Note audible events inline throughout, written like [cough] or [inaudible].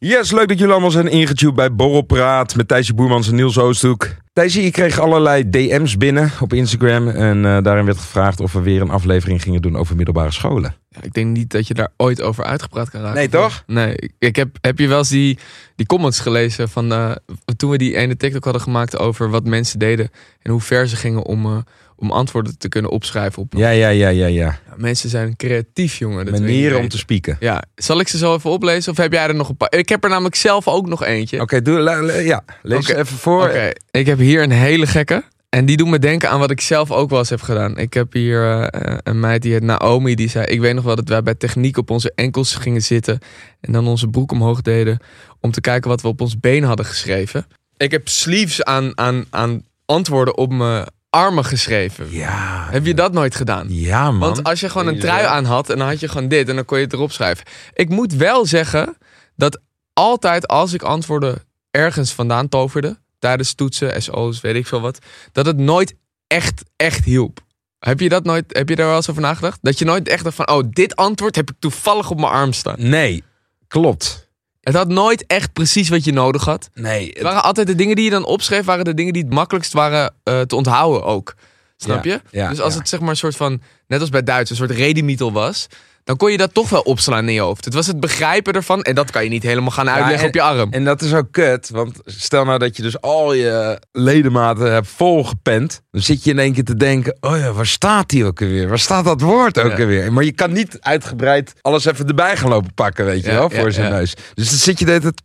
Yes, leuk dat jullie allemaal zijn ingetuned bij Borrelpraat met Thijsje Boermans en Niels Oosthoek. Thijsje, ik kreeg allerlei DM's binnen op Instagram en eh, daarin werd gevraagd of we weer een aflevering gingen doen over middelbare scholen. Ja, ik denk niet dat je daar ooit over uitgepraat kan raken. Nee, toch? Nee, ik- ik heb, heb je wel eens die, die comments gelezen van eh, toen we die ene TikTok hadden gemaakt over wat mensen deden en hoe ver ze gingen om, eh, om antwoorden te kunnen opschrijven op. Ja, ja, ja, ja, ja. Ja, mensen zijn creatief, jongen. dat wil je niet Manieren om te weten. spieken. Oké, Ja, zal ik ze zo even oplezen of heb jij er nog een paar? Ik heb er namelijk zelf ook nog eentje. doe, la- la- ja. lees Oké. even voor. Oké, ik heb hier een hele gekke. En die doet me denken aan wat ik zelf ook wel eens heb gedaan. Ik heb hier eh, een meid die heet Naomi. Die zei, ik weet nog wel dat wij bij techniek op onze enkels gingen zitten. En dan onze broek omhoog deden. Om te kijken wat we op ons been hadden geschreven. Ik heb sleeves aan, aan, aan antwoorden op mijn armen geschreven. Ja, Heb je dat nooit gedaan? ja man. Want als je gewoon een Deze- trui aan had en dan had je gewoon dit en dan kon je het erop schrijven. Ik moet wel zeggen dat altijd als ik antwoorden ergens vandaan toverde, tijdens toetsen, SO's, weet ik veel wat, dat het nooit echt, echt hielp. Heb je, dat nooit, heb je daar wel eens over nagedacht? Dat je nooit echt dacht van, oh, dit antwoord heb ik toevallig op mijn arm staan. Nee, klopt. Het had nooit echt precies wat je nodig had. Nee, het- Het waren altijd de dingen die je dan opschreef, waren de dingen die het makkelijkst waren eh, te onthouden ook. Snap Ja, je? ja, dus als ja. het zeg maar een soort van, net als bij Duits, een soort redemietel was, dan kon je dat toch wel opslaan in je hoofd. Het was het begrijpen ervan en dat kan je niet helemaal gaan uitleggen en- op je arm. En dat is ook kut, want stel nou dat je dus al je ledematen hebt volgepend. Dan zit je in één keer te denken, oh ja, waar staat die ook weer? Waar staat dat woord ook Ja. weer? Maar je kan niet uitgebreid alles even erbij gaan lopen pakken, weet je Ja, wel, ja, voor zijn ja. neus. Dus dan zit je de hele tijd-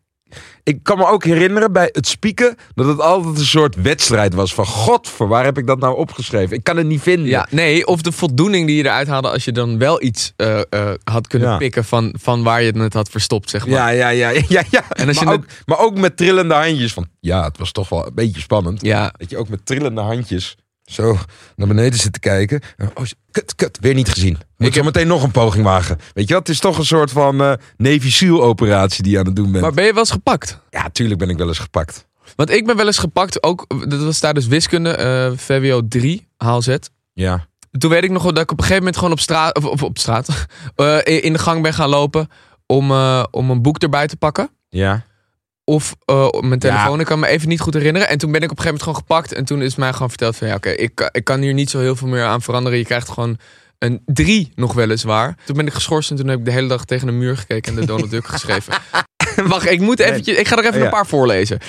Ik kan me ook herinneren bij het spieken dat het altijd een soort wedstrijd was van... God, voor waar heb ik dat nou opgeschreven? Ik kan het niet vinden. Ja, nee, of de voldoening die je eruit haalde als je dan wel iets eh, eh, had kunnen Ja. pikken van, van waar je het had verstopt, zeg maar. Ja, ja, ja, [laughs] ja, ja. En als je maar, het- ook, maar ook met trillende handjes. Van, ja, het was toch wel een beetje spannend. ja. Dat je ook met trillende handjes zo naar beneden zit te kijken. Oh, kut, kut, weer niet gezien. Moet ik Ik zo heb- meteen nog een poging wagen. Weet je wat, het is toch een soort van eh Navy SEAL operatie die je aan het doen bent. Maar ben je wel eens gepakt? Ja, tuurlijk ben ik wel eens gepakt. Want ik ben wel eens gepakt, ook, dat was daar dus wiskunde, eh, VWO 3, haalzet. Ja. toen weet ik nog wel dat ik op een gegeven moment gewoon op straat, of, op, op straat, [laughs] eh, in de gang ben gaan lopen om, eh, om een boek erbij te pakken. Ja. Of eh, op mijn Ja. telefoon, ik kan me even niet goed herinneren. En toen ben ik op een gegeven moment gewoon gepakt. En toen is mij gewoon verteld van ja, oké, ik, kan- ik kan hier niet zo heel veel meer aan veranderen. Je krijgt gewoon een drie nog weliswaar. Toen ben ik geschorst en toen heb ik de hele dag tegen een muur gekeken en de Donald [laughs] Duck geschreven. [laughs] Wacht, ik moet eventjes, ik ga er even Ja. een paar voorlezen.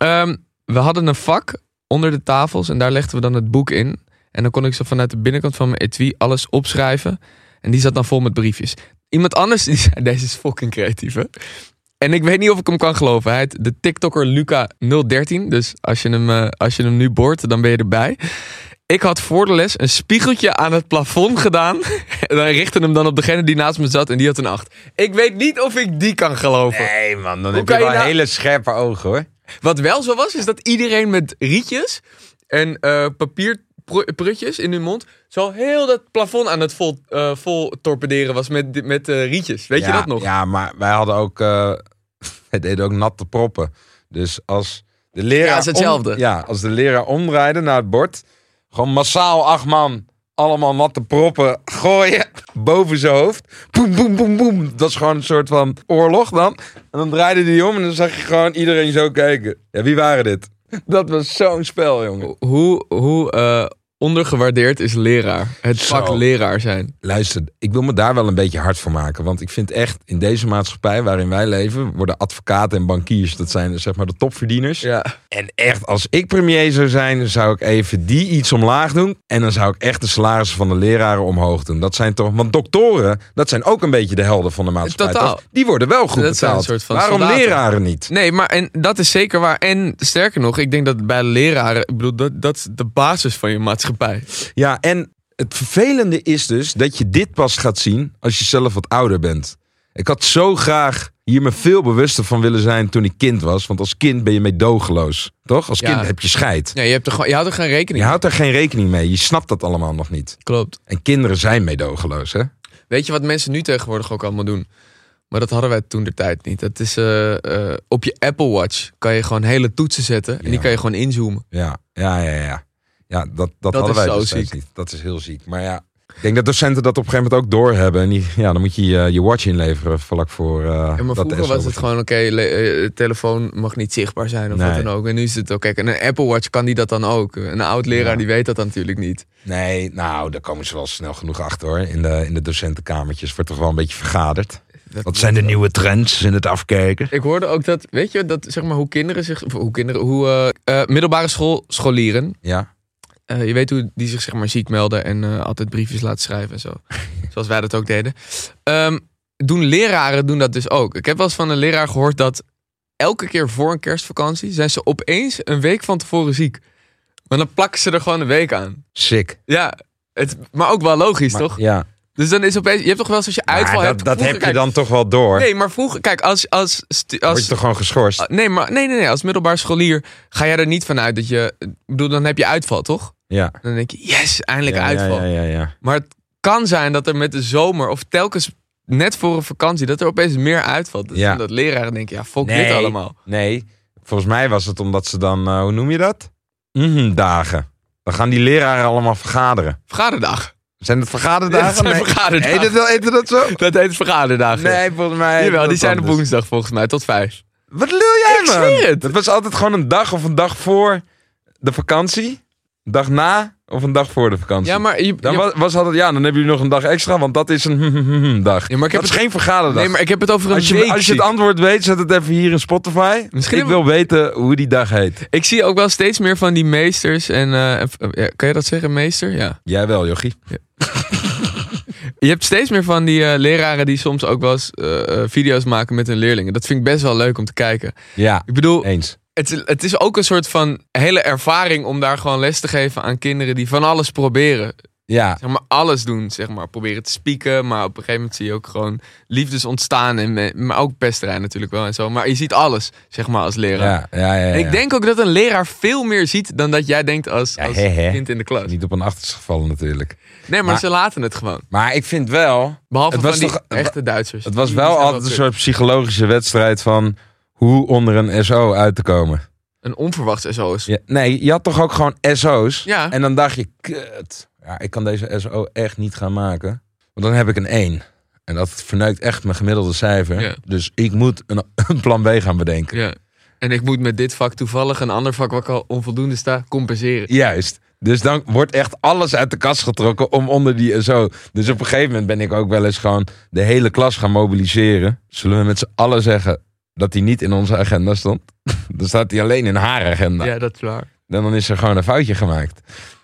Ehm, we hadden een vak onder de tafels en daar legden we dan het boek in. En dan kon ik zo vanuit de binnenkant van mijn etui alles opschrijven. En die zat dan vol met briefjes. Iemand anders die [laughs] zei, deze is fucking creatief hè. En ik weet niet of ik hem kan geloven. Hij heet de TikToker Luca013. Dus als je, hem, eh, als je hem nu boort, dan ben je erbij. Ik had voor de les een spiegeltje aan het plafond gedaan. [laughs] En dan richtte hem dan op degene die naast me zat. En die had een 8. Ik weet niet of ik die kan geloven. Nee man, dan Hoe heb je kan wel je nou- hele scherpe ogen hoor. Wat wel zo was, is dat iedereen met rietjes en eh papierprutjes in hun mond. zo heel dat plafond aan het vol, eh, vol torpederen was met, di- met eh, rietjes. Weet je Ja, dat nog? Ja, maar wij hadden ook, eh [laughs] wij deden ook natte proppen. Dus als de leraar, Ja, is hetzelfde. om- ja, als de leraar omdraaide naar het bord, gewoon massaal acht man allemaal natte proppen gooien [laughs] boven zijn hoofd. Boem, boem, boem, boem. Dat is gewoon een soort van oorlog dan. En dan draaide die om en dan zag je gewoon iedereen zo kijken. Ja, wie waren dit? [laughs] Dat was zo'n spel, jongen. Hoe, hoe eh, ondergewaardeerd is leraar? Het Zo. vak leraar zijn. Luister, ik wil me daar wel een beetje hard voor maken. Want ik vind echt, in deze maatschappij waarin wij leven, worden advocaten en bankiers, dat zijn zeg maar de topverdieners. Ja. En echt, als ik premier zou zijn, dan zou ik even die iets omlaag doen. En dan zou ik echt de salarissen van de leraren omhoog doen. Dat zijn toch, want doktoren, dat zijn ook een beetje de helden van de maatschappij. Totaal. toch? Die worden wel goed Dat zijn een betaald. soort van Waarom soldaten. leraren niet? Nee, maar en dat is zeker waar. En sterker nog, ik denk dat bij leraren, ik bedoel, dat, dat is de basis van je maatschappij. Ja, en het vervelende is dus dat je dit pas gaat zien als je zelf wat ouder bent. Ik had zo graag hier me veel bewuster van willen zijn toen ik kind was. Want als kind ben je meedogenloos, toch? Als Ja. kind heb je scheid. Ja, je, hebt er gewoon, je houdt er geen Je rekening mee. houdt er geen rekening mee. Je snapt dat allemaal nog niet. Klopt. En kinderen zijn meedogenloos, hè? Weet je wat mensen nu tegenwoordig ook allemaal doen? Maar dat hadden wij toen de tijd niet. Dat is eh, eh, op je Apple Watch kan je gewoon hele toetsen zetten. En Ja. die kan je gewoon inzoomen. Ja, ja, ja, ja. Ja, dat, dat, hadden is wij zo destijds ziek. niet. Dat is heel ziek. Maar ja, ik denk dat docenten dat op een gegeven moment ook doorhebben. En die, ja, dan moet je je, je watch inleveren vlak voor eh Ja, maar dat de vroeger SO was het begint. gewoon oké, le- eh, de telefoon mag niet zichtbaar zijn of wat Nee. dan ook. En nu is het oké. En een Apple Watch kan die dat dan ook. Een oud leraar Ja. die weet dat dan natuurlijk niet. Nee, nou, daar komen ze wel snel genoeg achter hoor. In de, in de docentenkamertjes wordt toch wel een beetje vergaderd. Dat- Wat zijn de nieuwe trends in het afkijken? Ik hoorde ook dat, weet je, dat zeg maar hoe kinderen zich, of hoe kinderen, hoe eh, eh, middelbare school, scholieren, Ja, eh, je weet hoe die zich zeg maar ziek melden en eh, altijd briefjes laten schrijven en [laughs] zo. Zoals wij dat ook deden. Ehm, doen leraren doen dat dus ook. Ik heb wel eens van een leraar gehoord dat elke keer voor een kerstvakantie zijn ze opeens een week van tevoren ziek. Maar dan plakken ze er gewoon een week aan. sick. Ja, het, maar ook wel logisch, Maar- toch? Ja, Dus dan is opeens, je hebt toch wel eens als je Maar uitval dat, hebt. dat heb vroeger- je dan toch wel door. kijk, Nee, maar vroeger, kijk, als, als, stu- als, Word je toch gewoon geschorst? Ah, Nee, maar nee, nee, nee. Als middelbaar scholier ga jij er niet vanuit dat je. Ik bedoel, dan heb je uitval, toch? Ja. Dan denk je, yes, eindelijk ja, uitval. Ja, ja, ja, ja. Maar het kan zijn dat er met de zomer of telkens net voor een vakantie, dat er opeens meer uitvalt. Dus Ja. Dat leraren denken, ja, fuck Nee. dit allemaal. Nee, volgens mij was het omdat ze dan, eh, hoe noem je dat? Mhm, dagen. Dan gaan die leraren allemaal vergaderen. Vergaderdag. [laughs] Zijn het Ja, dat vergaderdagen? zijn vergaderdagen. Heet het wel- heette dat zo? Dat heet vergaderdag. Nee, volgens mij. heette Jawel, dat dus. die zijn op anders. woensdag volgens mij, tot vijf. Wat lul jij, Ik man? zweer het. Dat was altijd gewoon een dag of een dag voor de vakantie. Een dag na of een dag voor de vakantie. Ja, maar, je, Dan je- was, was altijd, ja, dan hebben jullie nog een dag extra, want dat is een [laughs] dag. Ja, maar ik heb dat is het- geen vergaderdag. nee, maar ik heb het over een als, je, week als je het ziek. antwoord weet, zet het even hier in Spotify. Misschien- Ik wil weten hoe die dag heet. Ik zie ook wel steeds meer van die meesters en... eh, en- ja, kan je dat zeggen, meester? Ja. Jij wel, jochie. Je hebt steeds meer van die eh, leraren die soms ook wel eens eh, eh, video's maken met hun leerlingen. Dat vind ik best wel leuk om te kijken. Ja, Ik bedoel, eens. het, is- het is ook een soort van hele ervaring om daar gewoon les te geven aan kinderen die van alles proberen. Ja, Zeg maar alles doen, zeg maar. Proberen te spieken, maar op een gegeven moment zie je ook gewoon liefdes ontstaan. En, me- maar ook pesterij natuurlijk wel en zo. Maar je ziet alles, zeg maar, als leraar. ja, ja. ja, ja. En ik denk ook dat een leraar veel meer ziet dan dat jij denkt als, Ja, als hè, hè. kind in de klas. Niet op een achterste gevallen natuurlijk. Nee, maar, Maar- ze laten het gewoon. Maar ik vind wel, Behalve Het was van die toch- echte Duitsers. het was Die- die wel zijn altijd een kut. soort psychologische wedstrijd van hoe onder een SO uit te komen. Een onverwachts SOS. Ja, nee, je had toch ook gewoon SO's? Ja. En dan dacht je, kut. Ja, ik kan deze SO echt niet gaan maken. Want dan heb ik een 1. En dat verneukt echt mijn gemiddelde cijfer. Ja. Dus ik moet een, [laughs] een plan B gaan bedenken. Ja. En ik moet met dit vak toevallig een ander vak waar ik al onvoldoende sta compenseren. Juist. Dus dan wordt echt alles uit de kast getrokken om onder die SO. Dus op een gegeven moment ben ik ook wel eens gewoon de hele klas gaan mobiliseren. Zullen we met z'n allen zeggen dat die niet in onze agenda stond? [laughs] dan staat hij alleen in haar agenda. Ja, dat is waar. En dan is er gewoon een foutje gemaakt.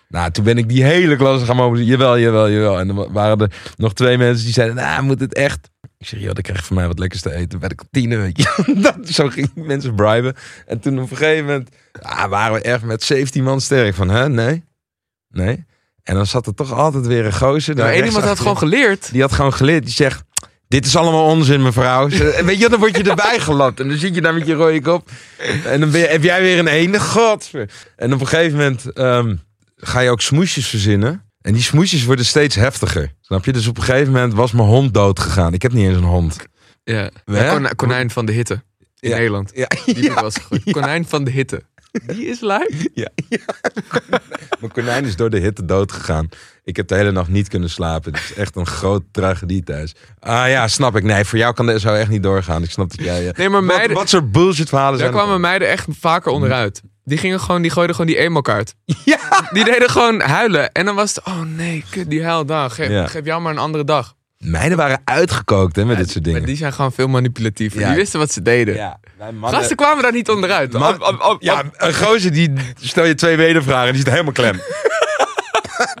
Nou, toen ben ik die hele klas gaan mobiliseren. Jawel, jawel, jawel. En dan waren er nog twee mensen die zeiden, nou, moet het echt... Ik zeg, joh, dan krijg je van mij wat lekkers te eten bij de kantine, weet je. [laughs] Dat, zo ging ik mensen briben. En toen op een gegeven moment ah, waren we echt met 17 man sterk. Van, hè, nee, nee. En dan zat er toch altijd weer een gozer. daar Maar Nou, één rechts iemand had achterin. gewoon geleerd. Die had gewoon geleerd. Die zegt, dit is allemaal onzin, mevrouw. Ze- En weet je, dan word je [laughs] erbij gelapt. En dan zit je daar met je rode kop. En dan ben je- heb jij weer een ene. God. En op een gegeven moment ehm, ga je ook smoesjes verzinnen. En die smoesjes worden steeds heftiger. Snap je? Dus op een gegeven moment was mijn hond dood gegaan. Ik heb niet eens een hond. Ja. Hè? Kona- konijn van de hitte. In Ja. Nederland. [laughs] Ja, Die ja, was goed. Konijn van de hitte. Die is lui. ja, ja. Mijn konijn is door de hitte dood gegaan. Ik heb de hele nacht niet kunnen slapen. Het is echt een grote tragedie thuis. Ah ja, snap ik. Nee, voor jou kan de SO echt niet doorgaan. Ik snap dat jij... eh, Nee, maar Wat- meiden, Wat, soort bullshit verhalen daar zijn kwamen meiden echt vaker onderuit. Die, gingen gewoon, die gooiden gewoon die emo-kaart. Ja. Die deden gewoon huilen. En dan was het, oh nee, kut, die huildag. Geef, Ja. geef jou maar een andere dag. Meiden waren uitgekookt hè, met dit soort dingen. Maar die zijn gewoon veel manipulatiever. Ja. Die wisten wat ze deden. Ja, wij Gasten kwamen daar niet onderuit. Man- Op- op- op- ja, op- een gozer die stel je twee wedervragen en die zit helemaal klem. [laughs]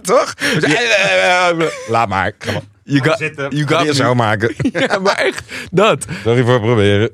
Toch? Laat maar. Kom op. you got, You got zo maken. [laughs] Ja, maar echt, dat. Sorry voor het proberen.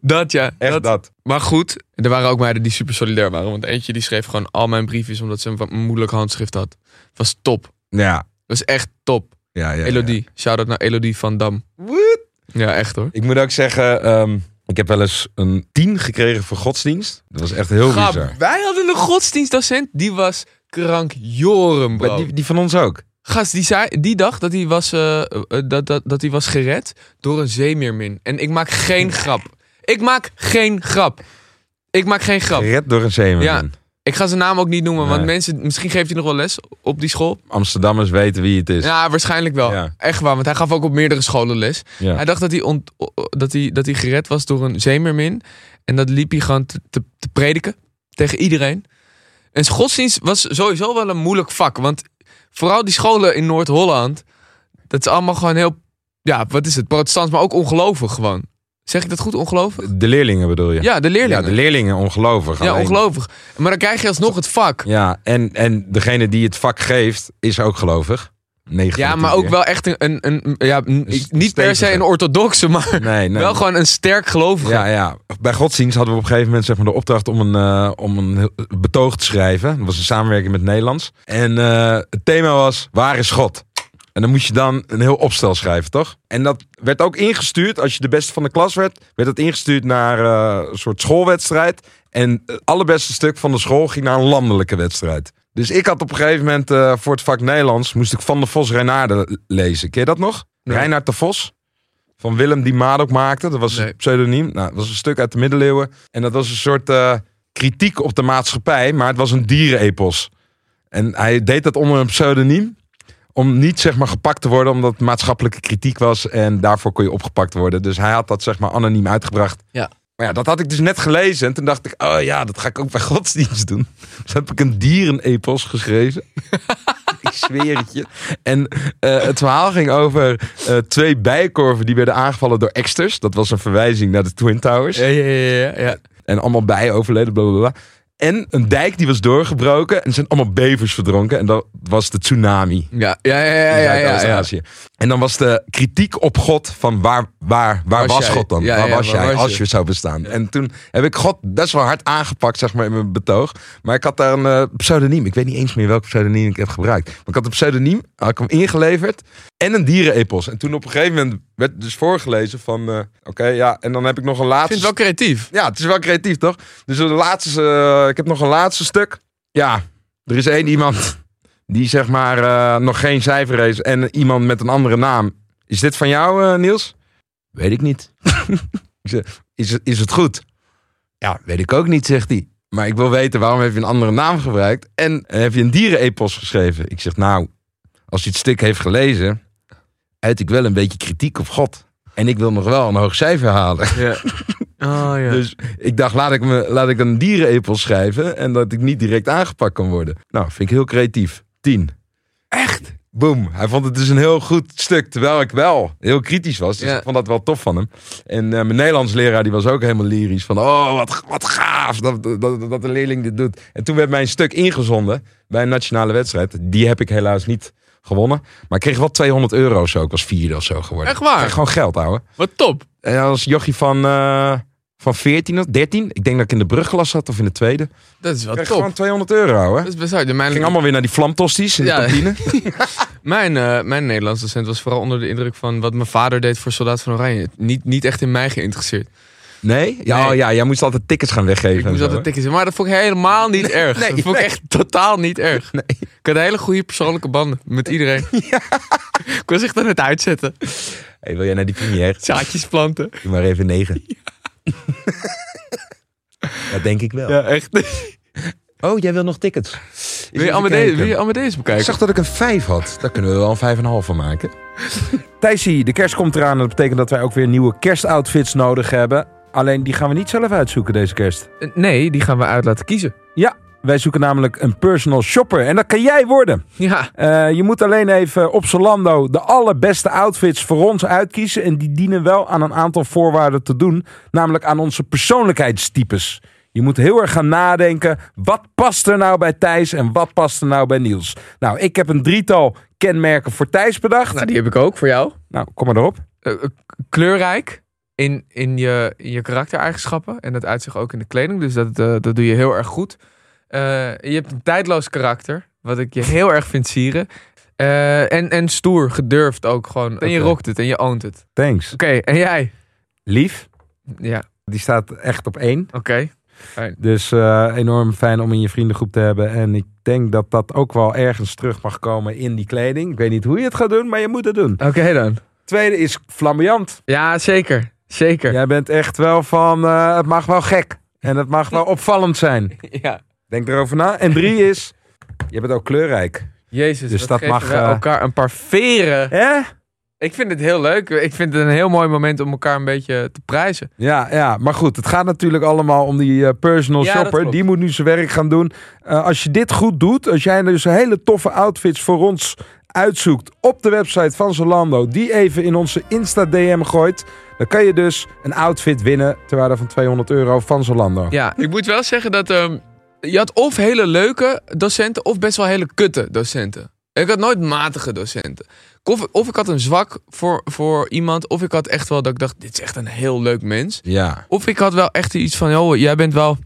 Dat ja. Echt dat. dat. Maar goed, er waren ook meiden die super solidair waren. Want eentje die schreef gewoon al mijn briefjes omdat ze een wat moeilijk handschrift had. Was top. Ja. Was echt top. Ja, ja, ja. Elodie. Shout-out naar Elodie van Dam. What? Ja, echt hoor. Ik moet ook zeggen, ehm, ik heb wel eens een 10 gekregen voor godsdienst. Dat was echt heel Grap, bizar. wij hadden een godsdienstdocent, die was krankjoren, bro. Maar die, die van ons ook. Gast, die zei die dag dat hij was, eh, eh, dat, dat, dat hij was gered door een zeemeermin. En ik maak geen grap. Ik maak geen grap. Ik maak geen grap. Gered door een zeeman. Ja. Ik ga zijn naam ook niet noemen, want Nee. mensen, misschien geeft hij nog wel les op die school. Amsterdammers weten wie het is. Ja, waarschijnlijk wel. Ja. Echt waar, want hij gaf ook op meerdere scholen les. Ja. Hij dacht dat hij, ont- o- o- dat, hij, dat hij gered was door een zeemermin. En dat liep hij gewoon te, te, te prediken tegen iedereen. En godsdienst was sowieso wel een moeilijk vak. Want vooral die scholen in Noord-Holland, dat is allemaal gewoon heel, ja, wat is het, protestants, maar ook ongelovig gewoon. Zeg ik dat goed, ongelovig? De leerlingen bedoel je? Ja, de leerlingen. Ja, de leerlingen, ongelovig. Ja, Alleen- ongelovig. Maar dan krijg je alsnog het vak. Ja, en, en degene die het vak geeft, is ook gelovig. 9 Ja, van de maar 10 ook wel echt een, een, een ja, n- Dus niet per se stevige. een orthodoxe, maar keer. [laughs] Nee, nee. wel gewoon een sterk gelovige. Ja, ja, bij godsdienst hadden we op een gegeven moment zeg maar, de opdracht om een, eh, om een heel- betoog te schrijven. Dat was een samenwerking met Nederlands. En eh, het thema was, waar is God? En dan moest je dan een heel opstel schrijven, toch? En dat werd ook ingestuurd, als je de beste van de klas werd, werd dat ingestuurd naar eh, een soort schoolwedstrijd. En het allerbeste stuk van de school ging naar een landelijke wedstrijd. Dus ik had op een gegeven moment eh, voor het vak Nederlands, moest ik Van de Vos Reinaarde lezen. Ken je dat nog? Nee. Reinhard de Vos? Van Willem die Madok maakte. Dat was Nee. een pseudoniem. Nou, dat was een stuk uit de middeleeuwen. En dat was een soort eh, kritiek op de maatschappij. Maar het was een dierenepos. En hij deed dat onder een pseudoniem. Om niet zeg maar gepakt te worden. Omdat het maatschappelijke kritiek was. En daarvoor kon je opgepakt worden. Dus hij had dat zeg maar anoniem uitgebracht. Ja. Maar ja, dat had ik dus net gelezen. En toen dacht ik, oh ja, dat ga ik ook bij godsdienst doen. [laughs] Dus heb ik een dierenepos geschreven. [laughs] ik zweer het je. En eh, het verhaal ging over eh, twee bijenkorven die werden aangevallen door eksters. Dat was een verwijzing naar de Twin Towers. Ja, ja, ja, ja, ja. En allemaal bijen overleden, bla bla bla. En een dijk die was doorgebroken en er zijn allemaal bevers verdronken. En dat was de tsunami. Ja, ja, ja, ja, in ja, ja, ja. Zuidoost-Azië. En dan was de kritiek op God van waar, waar, waar Was was, jij? God dan? Ja, waar ja, was waar jij was als je? je zou bestaan? En toen heb ik God best wel hard aangepakt, zeg maar, in mijn betoog. Maar ik had daar een eh, pseudoniem. Ik weet niet eens meer welk pseudoniem ik heb gebruikt. Maar ik had een pseudoniem, had ik hem ingeleverd. En een dierenepos. En toen op een gegeven moment werd dus voorgelezen van... eh, Oké, ja, en dan heb ik nog een Ik laatste... vind het wel creatief. Ja, het is wel creatief, toch? Dus de laatste, eh, ik heb nog een laatste stuk. Ja, er is één iemand die zeg maar eh, nog geen cijfer heeft en iemand met een andere naam. Is dit van jou, eh, Niels? Weet ik niet. [laughs] Ik zeg, is, het- is het goed? Ja, weet ik ook niet, zegt hij. Maar ik wil weten, waarom heb je een andere naam gebruikt? En eh, heb je een dierenepos geschreven? Ik zeg, nou, als hij het stuk heeft gelezen, uit ik wel een beetje kritiek op God. En ik wil nog wel een hoog cijfer halen. Ja. Oh, ja. Dus ik dacht, laat ik, me, laat ik een dierenepel schrijven en dat ik niet direct aangepakt kan worden. Nou, vind ik heel creatief. Tien. Echt? Boom. Hij vond het dus een heel goed stuk, terwijl ik wel heel kritisch was. Dus Ja. ik vond dat wel tof van hem. En eh, mijn Nederlands leraar die was ook helemaal lyrisch. Van, oh, wat, wat gaaf dat, dat, dat dat de leerling dit doet. En toen werd mijn stuk ingezonden bij een nationale wedstrijd. Die heb ik helaas niet gewonnen. Maar ik kreeg wel 200 euro of zo. Ik was vierde of zo geworden. Echt waar? Ik kreeg gewoon geld, ouwe. Wat top. En dat was jochie van, eh, van 14 of 13. Ik denk dat ik in de brugklas zat of in de tweede. Ik Dat is wel kreeg top. gewoon 200 euro, hè? Dat is best hard. Mijn, Het ging allemaal weer naar die vlamtosties in de Ja. kantine. mijn, eh, mijn Nederlands docent was vooral onder de indruk van wat mijn vader deed voor Soldaat van Oranje. Niet, niet echt in mij geïnteresseerd. [laughs] Nee? Ja, Nee. oh ja, jij moest altijd tickets gaan weggeven. Ik en moest zo, altijd hè? tikken Maar dat vond ik helemaal niet erg. nee, dat vond ik nee. echt totaal niet erg. Ik had hele goede persoonlijke banden met [laughs] iedereen. Ik was echt aan het uitzetten. hey, wil jij naar die [laughs] première? Zaadjes planten. Doe maar even negen. [laughs] dat denk ik wel. Ja, echt. Oh, jij wil nog tickets? Eens Wil je even Amadeus, kijken. wil je Amadeus Ik bekijken? zag dat ik een 5 had. Daar kunnen we wel een 5,5 van maken. [laughs] Thijsie, de kerst komt eraan. en Dat betekent dat wij ook weer nieuwe kerstoutfits nodig hebben. Alleen die gaan we niet zelf uitzoeken deze kerst. Eh, Nee, die gaan we uit laten kiezen. Wij zoeken namelijk een personal shopper. En dat kan jij worden. [laughs] Ja. Eh, je moet alleen even op Zalando de allerbeste outfits voor ons uitkiezen. En die dienen wel aan een aantal voorwaarden te doen. Namelijk aan onze persoonlijkheidstypes. Je moet heel erg gaan nadenken. Wat past er nou bij Thijs en wat past er nou bij Niels? Nou, ik heb een drietal kenmerken voor Thijs bedacht. Nou, die heb ik ook voor jou. Nou, kom maar erop. eh, eh, k- kleurrijk in, in, je, in je karaktereigenschappen. En dat uitzicht ook in de kleding. Dus dat, eh, dat doe je heel erg goed. Eh, je hebt een tijdloos karakter. Wat ik je heel erg vind sieren. Eh, en, en stoer, gedurfd ook gewoon. En je Oké. rockt het en je oont het. Thanks. Oké, en jij? Lief. Ja, Die staat echt op één. oké. Dus eh, enorm fijn om in je vriendengroep te hebben. En ik denk dat dat ook wel ergens terug mag komen in die kleding. Ik weet niet hoe je het gaat doen, maar je moet het doen. Oké dan. Tweede is flamboyant. Ja, zeker. Zeker. Jij bent echt wel van, eh, het mag wel gek. En het mag wel opvallend zijn. Ja. Denk erover na. En drie is, je bent ook kleurrijk. Jezus, Dus wat dat geven mag, we eh, elkaar een paar veren. Hè? Ik vind het heel leuk. Ik vind het een heel mooi moment om elkaar een beetje te prijzen. Ja, ja, maar goed, het gaat natuurlijk allemaal om die eh, personal Ja, dat shopper. klopt. Die moet nu zijn werk gaan doen. Eh, als je dit goed doet, als jij dus hele toffe outfits voor ons uitzoekt op de website van Zalando, die even in onze Insta-DM gooit, dan kan je dus een outfit winnen ter waarde van 200 euro van Zalando. Ja, ik moet wel zeggen dat ehm, je had of hele leuke docenten of best wel hele kutte docenten. Ik had nooit matige docenten. Of, of ik had een zwak voor, voor iemand, of ik had echt wel dat ik dacht, dit is echt een heel leuk mens. Ja, Of ik had wel echt iets van, joh, jij bent wel,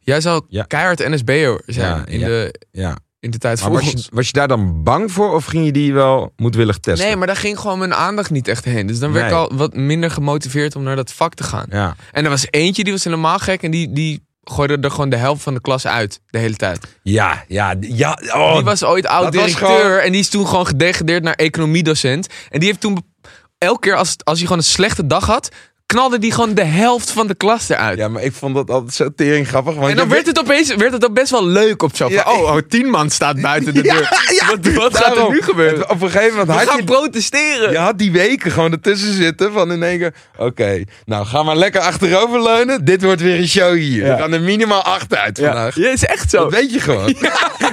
jij zou Ja. keihard NSB'er zijn Ja, in, ja. De, ja. in de tijd voor ons. daar dan bang voor of ging je die wel moedwillig testen? Nee, maar daar ging gewoon mijn aandacht niet echt heen. Dus dan werd Nee. ik al wat minder gemotiveerd om naar dat vak te gaan. Ja. En er was eentje, die was helemaal gek en die, die gooide er gewoon de helft van de klas uit de hele tijd. ja, ja, ja. oh, die was ooit dat was oud-directeur gewoon- en die is toen gewoon gedegradeerd naar economiedocent. En die heeft toen, be- elke keer als, als hij gewoon een slechte dag had, knalde die gewoon de helft van de klas [laughs] eruit. ja, maar ik vond dat altijd zo tering grappig. Want En dan werd het opeens werd het ook best wel leuk op zo. van, Ja, ik- oh, oh, tien man staat [laughs] buiten de deur. [laughs] wat wat gaat er Daarom. nu gebeuren? Het- Op een gegeven moment We had gaan je, protesteren. je had die weken gewoon ertussen zitten van in één keer... Oké, nou ga maar lekker achteroverleunen. Dit wordt weer een show hier. Ja. We gaan er minimaal acht uit vandaag. Ja, is echt zo. Dat weet je [laughs] gewoon.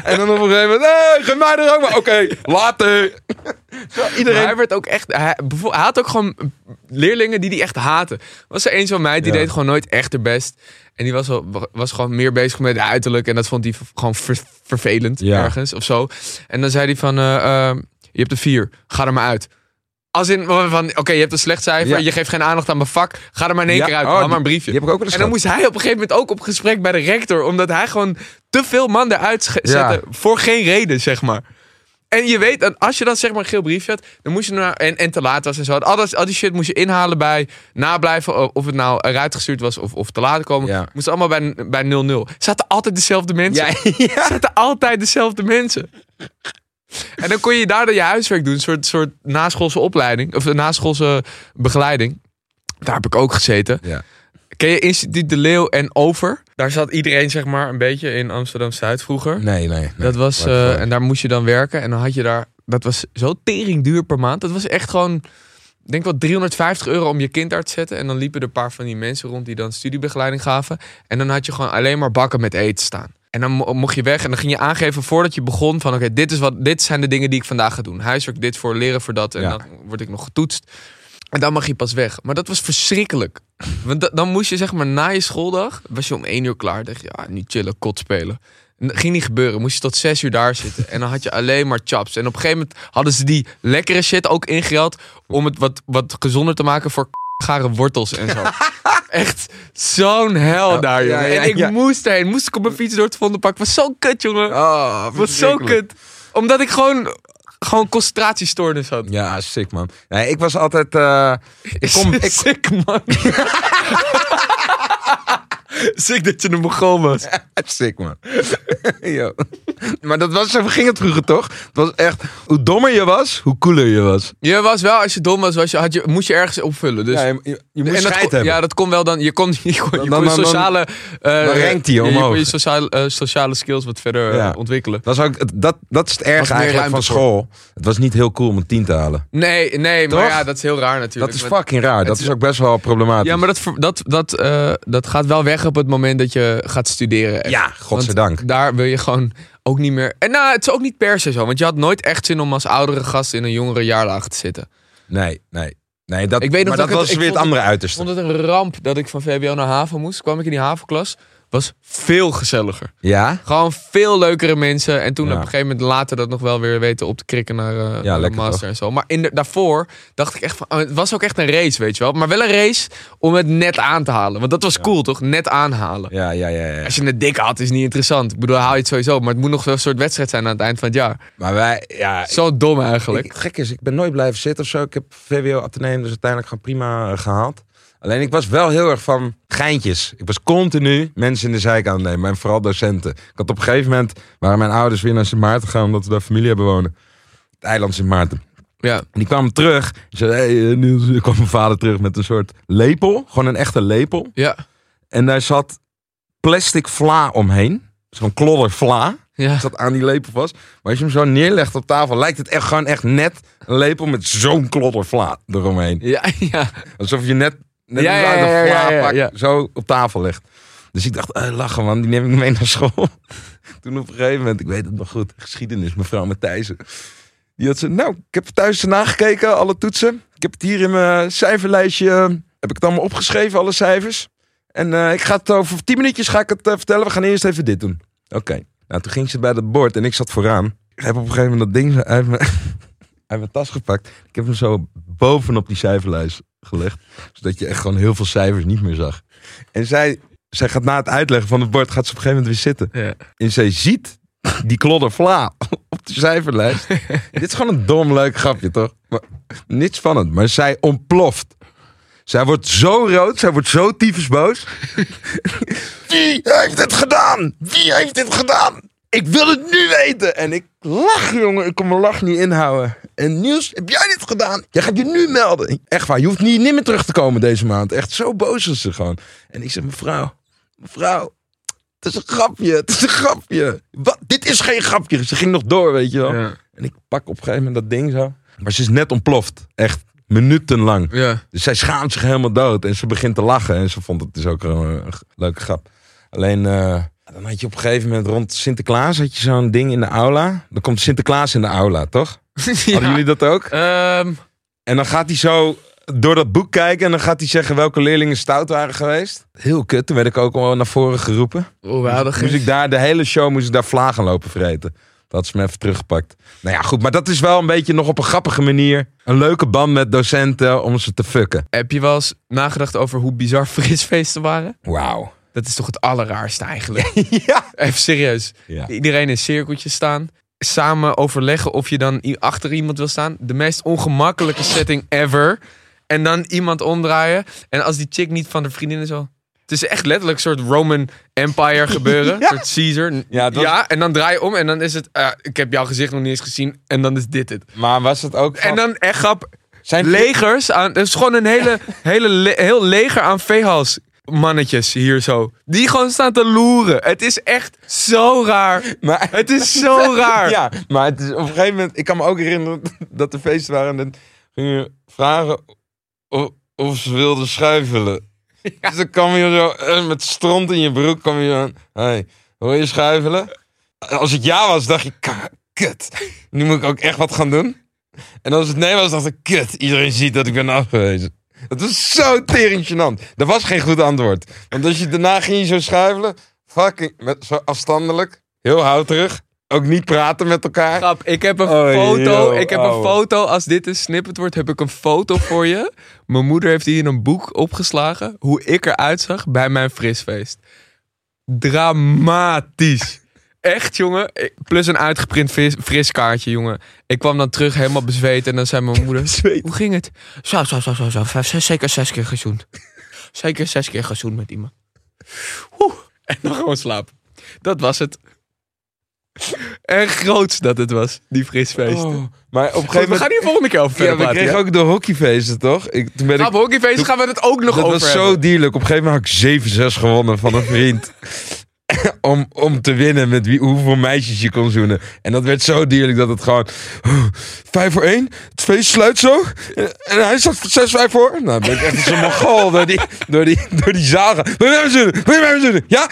En dan op een gegeven moment... Hey, geef mij er ook maar. Oké, later. Zo, Maar iedereen... hij werd ook echt. Hij, bevo- hij had ook gewoon leerlingen die die echt haten. Was er eens van mij die Ja. deed gewoon nooit echt haar best. En die was, wel, was gewoon meer bezig met de uiterlijk. En dat vond hij v- gewoon ver- vervelend Ja. ergens of zo. En dan zei hij van: eh, eh, Je hebt een vier, ga er maar uit. Als in van: Oké, je hebt een slecht cijfer. Ja. Je geeft geen aandacht aan mijn vak. Ga er maar in één Ja, keer uit. oh, Haal die- maar een briefje. Die heb ik ook wel eens En dan gehad. moest hij op een gegeven moment ook op gesprek bij de rector. Omdat hij gewoon te veel man eruit sche- Ja. zette. Voor geen reden, zeg maar. En je weet, dat als je dan zeg maar een geel briefje had, dan moest je naar, en, en te laat was en zo. Al, dat, al die shit moest je inhalen bij nablijven o- of het nou eruit gestuurd was of, of te laat komen. Ja. Moest allemaal bij, bij 0-0. Zaten altijd dezelfde mensen. Ja, [laughs] Zaten altijd dezelfde mensen. En dan kon je daar dan je huiswerk doen, een soort, soort naschoolse opleiding, of een naschoolse begeleiding. Daar heb ik ook gezeten. Ja. Ken je Instituut De Leeuw en Over? Daar zat iedereen zeg maar een beetje in Amsterdam-Zuid vroeger. Nee, nee. nee. dat was, waar ik eh, gewoon- en daar moest je dan werken. En dan had je daar, dat was zo tering duur per maand. Dat was echt gewoon, ik denk wel 350 euro om je kind daar te zetten. En dan liepen er een paar van die mensen rond die dan studiebegeleiding gaven. En dan had je gewoon alleen maar bakken met eten staan. En dan mo- mocht je weg en dan ging je aangeven voordat je begon van... oké, dit is wat, dit zijn de dingen die ik vandaag ga doen. Huiswerk dit voor, leren voor dat. En Ja. dan word ik nog getoetst. En dan mag je pas weg. Maar dat was verschrikkelijk. Want da- dan moest je zeg maar na je schooldag... was je om één uur klaar. dacht je, ja, nu chillen, kot spelen. N- Ging niet gebeuren. Moest je tot zes uur daar zitten. En dan had je alleen maar chaps. En op een gegeven moment hadden ze die lekkere shit ook ingehaald... om het wat, wat gezonder te maken voor gare wortels en [laughs] zo. Echt zo'n hel daar, Ja, jongen. ja, en ik ja. moest heen. Moest ik op mijn fiets door het Vondelpark. Was zo kut, jongen. Oh, was zo verschrikkelijk. kut. Omdat ik gewoon, gewoon concentratiestoornis had. Ja, sick man. Nee, ik was altijd... eh, ik, [laughs] kom, ik, Sick, [laughs] man. Sick dat je een Mongool was. [laughs] Sick, man. Yo. Maar dat was, zo ging het vroeger toch? Het was echt, hoe dommer je was, hoe cooler je was. Je was wel, als je dom was, was je, had je, moest je ergens opvullen. Dus... ja, je, je, je moest en dat scheid kon- hebben. Ja, dat kon wel dan. Je kon [laughs] je, kon, je, dan- kon je dan- dan- sociale. eh, dan rankt hij je- Je omhoog. kon je sociale, eh, sociale skills wat verder eh, Ja. ontwikkelen. Dat, is ook, het- dat, dat is het Was erg meer eigenlijk van ruimte school. Het was niet heel cool om een tien te halen. Nee, nee, maar Toch? ja, dat is heel raar natuurlijk. Dat is Want- fucking raar. Dat is- is ook best wel problematisch. Ja, maar dat, ver- dat, dat, eh, dat gaat wel weg op het moment dat je gaat studeren. echt. Ja, godzijdank. Want Daar wil je gewoon ook niet meer. En nou, het is ook niet per se zo. Want je had nooit echt zin om als oudere gast in een jongere jaarlaag te zitten. Nee, nee. nee dat, Ik weet nog maar dat dat, ik het- was weer het ik vond het- andere Ik uiterste. vond het een ramp dat ik van VWO naar HAVO moest. Kwam ik in die HAVO-klas. was veel gezelliger. Ja? Gewoon veel leukere mensen. En toen Ja. op een gegeven moment later dat nog wel weer weten op te krikken naar, eh, naar de lekker master toch? en zo. Maar in de- daarvoor dacht ik echt van, oh, het was ook echt een race, weet je wel. Maar wel een race om het net aan te halen. Want dat was cool, toch? Net aanhalen. Ja, ja, ja, ja. Als je het dik had, is niet interessant. Ik bedoel, haal je het sowieso. Maar het moet nog wel een soort wedstrijd zijn aan het eind van het jaar. Maar wij, ja... ik- Zo dom eigenlijk. ik- gek is, ik ben nooit blijven zitten of zo. Ik heb VWO Atheneum dus uiteindelijk gewoon prima eh, gehaald. Alleen ik was wel heel erg van geintjes. Ik was continu mensen in de zijk aan het nemen. En vooral docenten. Ik had op een gegeven moment... waren mijn ouders weer naar Sint Maarten gegaan... omdat we daar familie hebben wonen. Het eiland Sint Maarten. Ja. En die kwam terug. Ik zei, hey, eh, Niels, er [laughs] kwam mijn vader terug met een soort lepel. Gewoon een echte lepel. Ja. En daar zat plastic vla omheen. Zo'n klodder vla. Ja. Dat aan die lepel vast. Maar als je hem zo neerlegt op tafel, lijkt het echt gewoon echt net een lepel met zo'n klodder vla eromheen. Ja, ja. Alsof je net, net Ja, een ja, uit een ja, ja, vla ja, pak ja. zo op tafel legt. Dus ik dacht, eh, lachen man, die neem ik mee naar school. [laughs] Toen op een gegeven moment, ik weet het nog goed, geschiedenis, mevrouw Matthijssen. Die had ze, nou, ik heb thuis nagekeken, alle toetsen. Ik heb het hier in mijn cijferlijstje, eh, heb ik het allemaal opgeschreven, alle cijfers. En eh, ik ga het over tien minuutjes ga ik het eh, vertellen, we gaan eerst even dit doen. Oké, nou toen ging ze bij dat bord en ik zat vooraan. Ik heb op een gegeven moment dat ding zo uit mijn, [laughs] uit mijn tas gepakt. Ik heb hem zo bovenop die cijferlijst gelegd, zodat je echt gewoon heel veel cijfers niet meer zag. En zij, zij gaat na het uitleggen van het bord, gaat ze op een gegeven moment weer zitten. Ja. En zij ziet die klodder vla [laughs] op de cijferlijst. Dit is gewoon een dom leuk grapje, toch? Maar, niets van het, maar zij ontploft. Zij wordt zo rood, zij wordt zo tyfusboos. [laughs] Wie heeft het gedaan? Wie heeft dit gedaan? Ik wil het nu weten. En ik lach, jongen. Ik kon mijn lach niet inhouden. En Niels, heb jij dit gedaan? Jij gaat je nu melden. Echt waar, je hoeft niet, niet meer terug te komen deze maand. Echt, zo boos is ze gewoon. En ik zeg, mevrouw, mevrouw, het is een grapje, het is een grapje. Wat? Dit is geen grapje. Ze ging nog door, weet je wel. Ja. En ik pak op een gegeven moment dat ding zo. Maar ze is net ontploft. Echt minutenlang. Ja. Dus zij schaamt zich helemaal dood. En ze begint te lachen. En ze vond het dus ook gewoon een g- leuke grap. Alleen, eh, dan had je op een gegeven moment rond Sinterklaas... had je zo'n ding in de aula. Dan komt Sinterklaas in de aula, toch? Hadden jullie dat ook? Ehm, En dan gaat hij zo door dat boek kijken... en dan gaat hij zeggen welke leerlingen stout waren geweest. Heel kut. Toen werd ik ook al naar voren geroepen. oh, we hadden Moest geen... ik daar de hele show moest ik daar vlagen lopen vreten. Dat is me even teruggepakt. Nou ja, goed, maar dat is wel een beetje nog op een grappige manier. Een leuke band met docenten om ze te fucken. Heb je wel eens nagedacht over hoe bizar [laughs] frisfeesten waren? Wauw. Dat is toch het allerraarste eigenlijk. [laughs] Ja. Even serieus. Ja. Iedereen in cirkeltjes staan. Samen overleggen of je dan i- achter iemand wil staan. De meest ongemakkelijke setting ever. En dan iemand omdraaien. En als die chick niet van de vriendin is al... Het is echt letterlijk een soort Roman Empire [laughs] gebeuren. Een soort Caesar. Ja, het was- ja, en dan draai je om en dan is het... eh, ik heb jouw gezicht nog niet eens gezien. En dan is dit het. Maar was het ook van- En dan echt grap... zijn legers aan. Het is gewoon een hele, hele le- heel leger aan veehals. Mannetjes hier zo. Die gewoon staan te loeren. Het is echt zo raar. [laughs] maar, Het is zo raar. [laughs] Ja, maar het is op een gegeven moment... Ik kan me ook herinneren [laughs] dat er feesten waren... en dan gingen we vragen of, of ze wilden [laughs] schuifelen. Dus dan kwam je zo eh, met stront in je broek... kwam je zo aan. Hey, hoor je schuifelen? Als het ja was, dacht ik... "Ka- Kut, nu moet ik ook echt wat gaan doen. En als het nee was, dacht ik... Kut, iedereen ziet dat ik ben afgewezen. Dat was zo tering gênant. Er was geen goed antwoord. Want als je daarna ging je zo schuifelen... Fucking, met, zo afstandelijk. Heel houterig. Ook niet praten met elkaar. Grap, ik heb een Oh, foto. yo, oh. ik heb een ouwe. foto. Als dit een snippet wordt, heb ik een foto voor je. Mijn moeder heeft hier in een boek opgeslagen. Hoe ik eruit zag bij mijn frisfeest. Dramatisch. Echt, jongen. Ik- Plus een uitgeprint fris, friskaartje, jongen. Ik kwam dan terug helemaal bezweet. En dan zei mijn moeder... Hoe ging het? Zo, zo, zo, zo, zo. Vijf, zes- zeker zes keer gezoend. Zeker zes keer gezoend met iemand. Oeh. En dan gewoon slapen. Dat was het. En groots dat het was, die frisfeesten. Oh, maar op een Goed, gegeven we moment... gaan hier volgende keer over verder ja, we praten. kregen ja? ook de hockeyfeesten, toch? Ik, toen ben ik, Grap, hockeyfeesten gaan we het ook nog dat over was hebben. zo dierlijk. Op een gegeven moment had ik 7-6 gewonnen van een [laughs] vriend. om, om te winnen met wie, hoeveel meisjes je kon zoenen. En dat werd zo dierlijk dat het gewoon... 5 voor 1, het feest sluit zo. En hij zat 6-5 voor. Nou, dan ben ik echt als een mogol door die, door die, door die zaal gaan. Wil je mij zoenen? Wil je mij zoenen? Ja?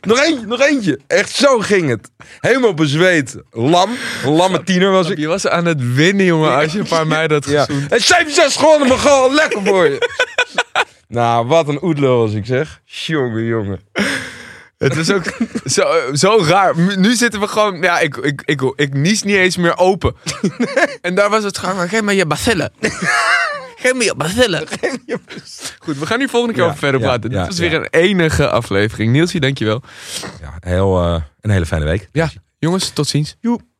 Nog eentje, nog eentje. Echt zo ging het. Helemaal bezweet. Lam. Een lamme tiener was ik. Je was aan het winnen, jongen, als je een paar meiden had Ja. gezoend. En 7 6 gewonnen, maar gewoon lekker voor je. nou, wat een oedlul was ik zeg. Jongen, jongen. Het is ook zo, zo raar. Nu- Nu zitten we gewoon... Ja, ik, ik, ik, ik, nies niet eens meer open. en daar was het gewoon... Geef me je bacillen. [laughs] Geef me je bacillen. Goed, we gaan nu volgende keer Ja, over verder ja, praten. ja, Dit was ja. weer een enige aflevering. Nielsie, dankjewel. Ja, heel, eh, een hele fijne week. Ja, jongens, tot ziens. Joep.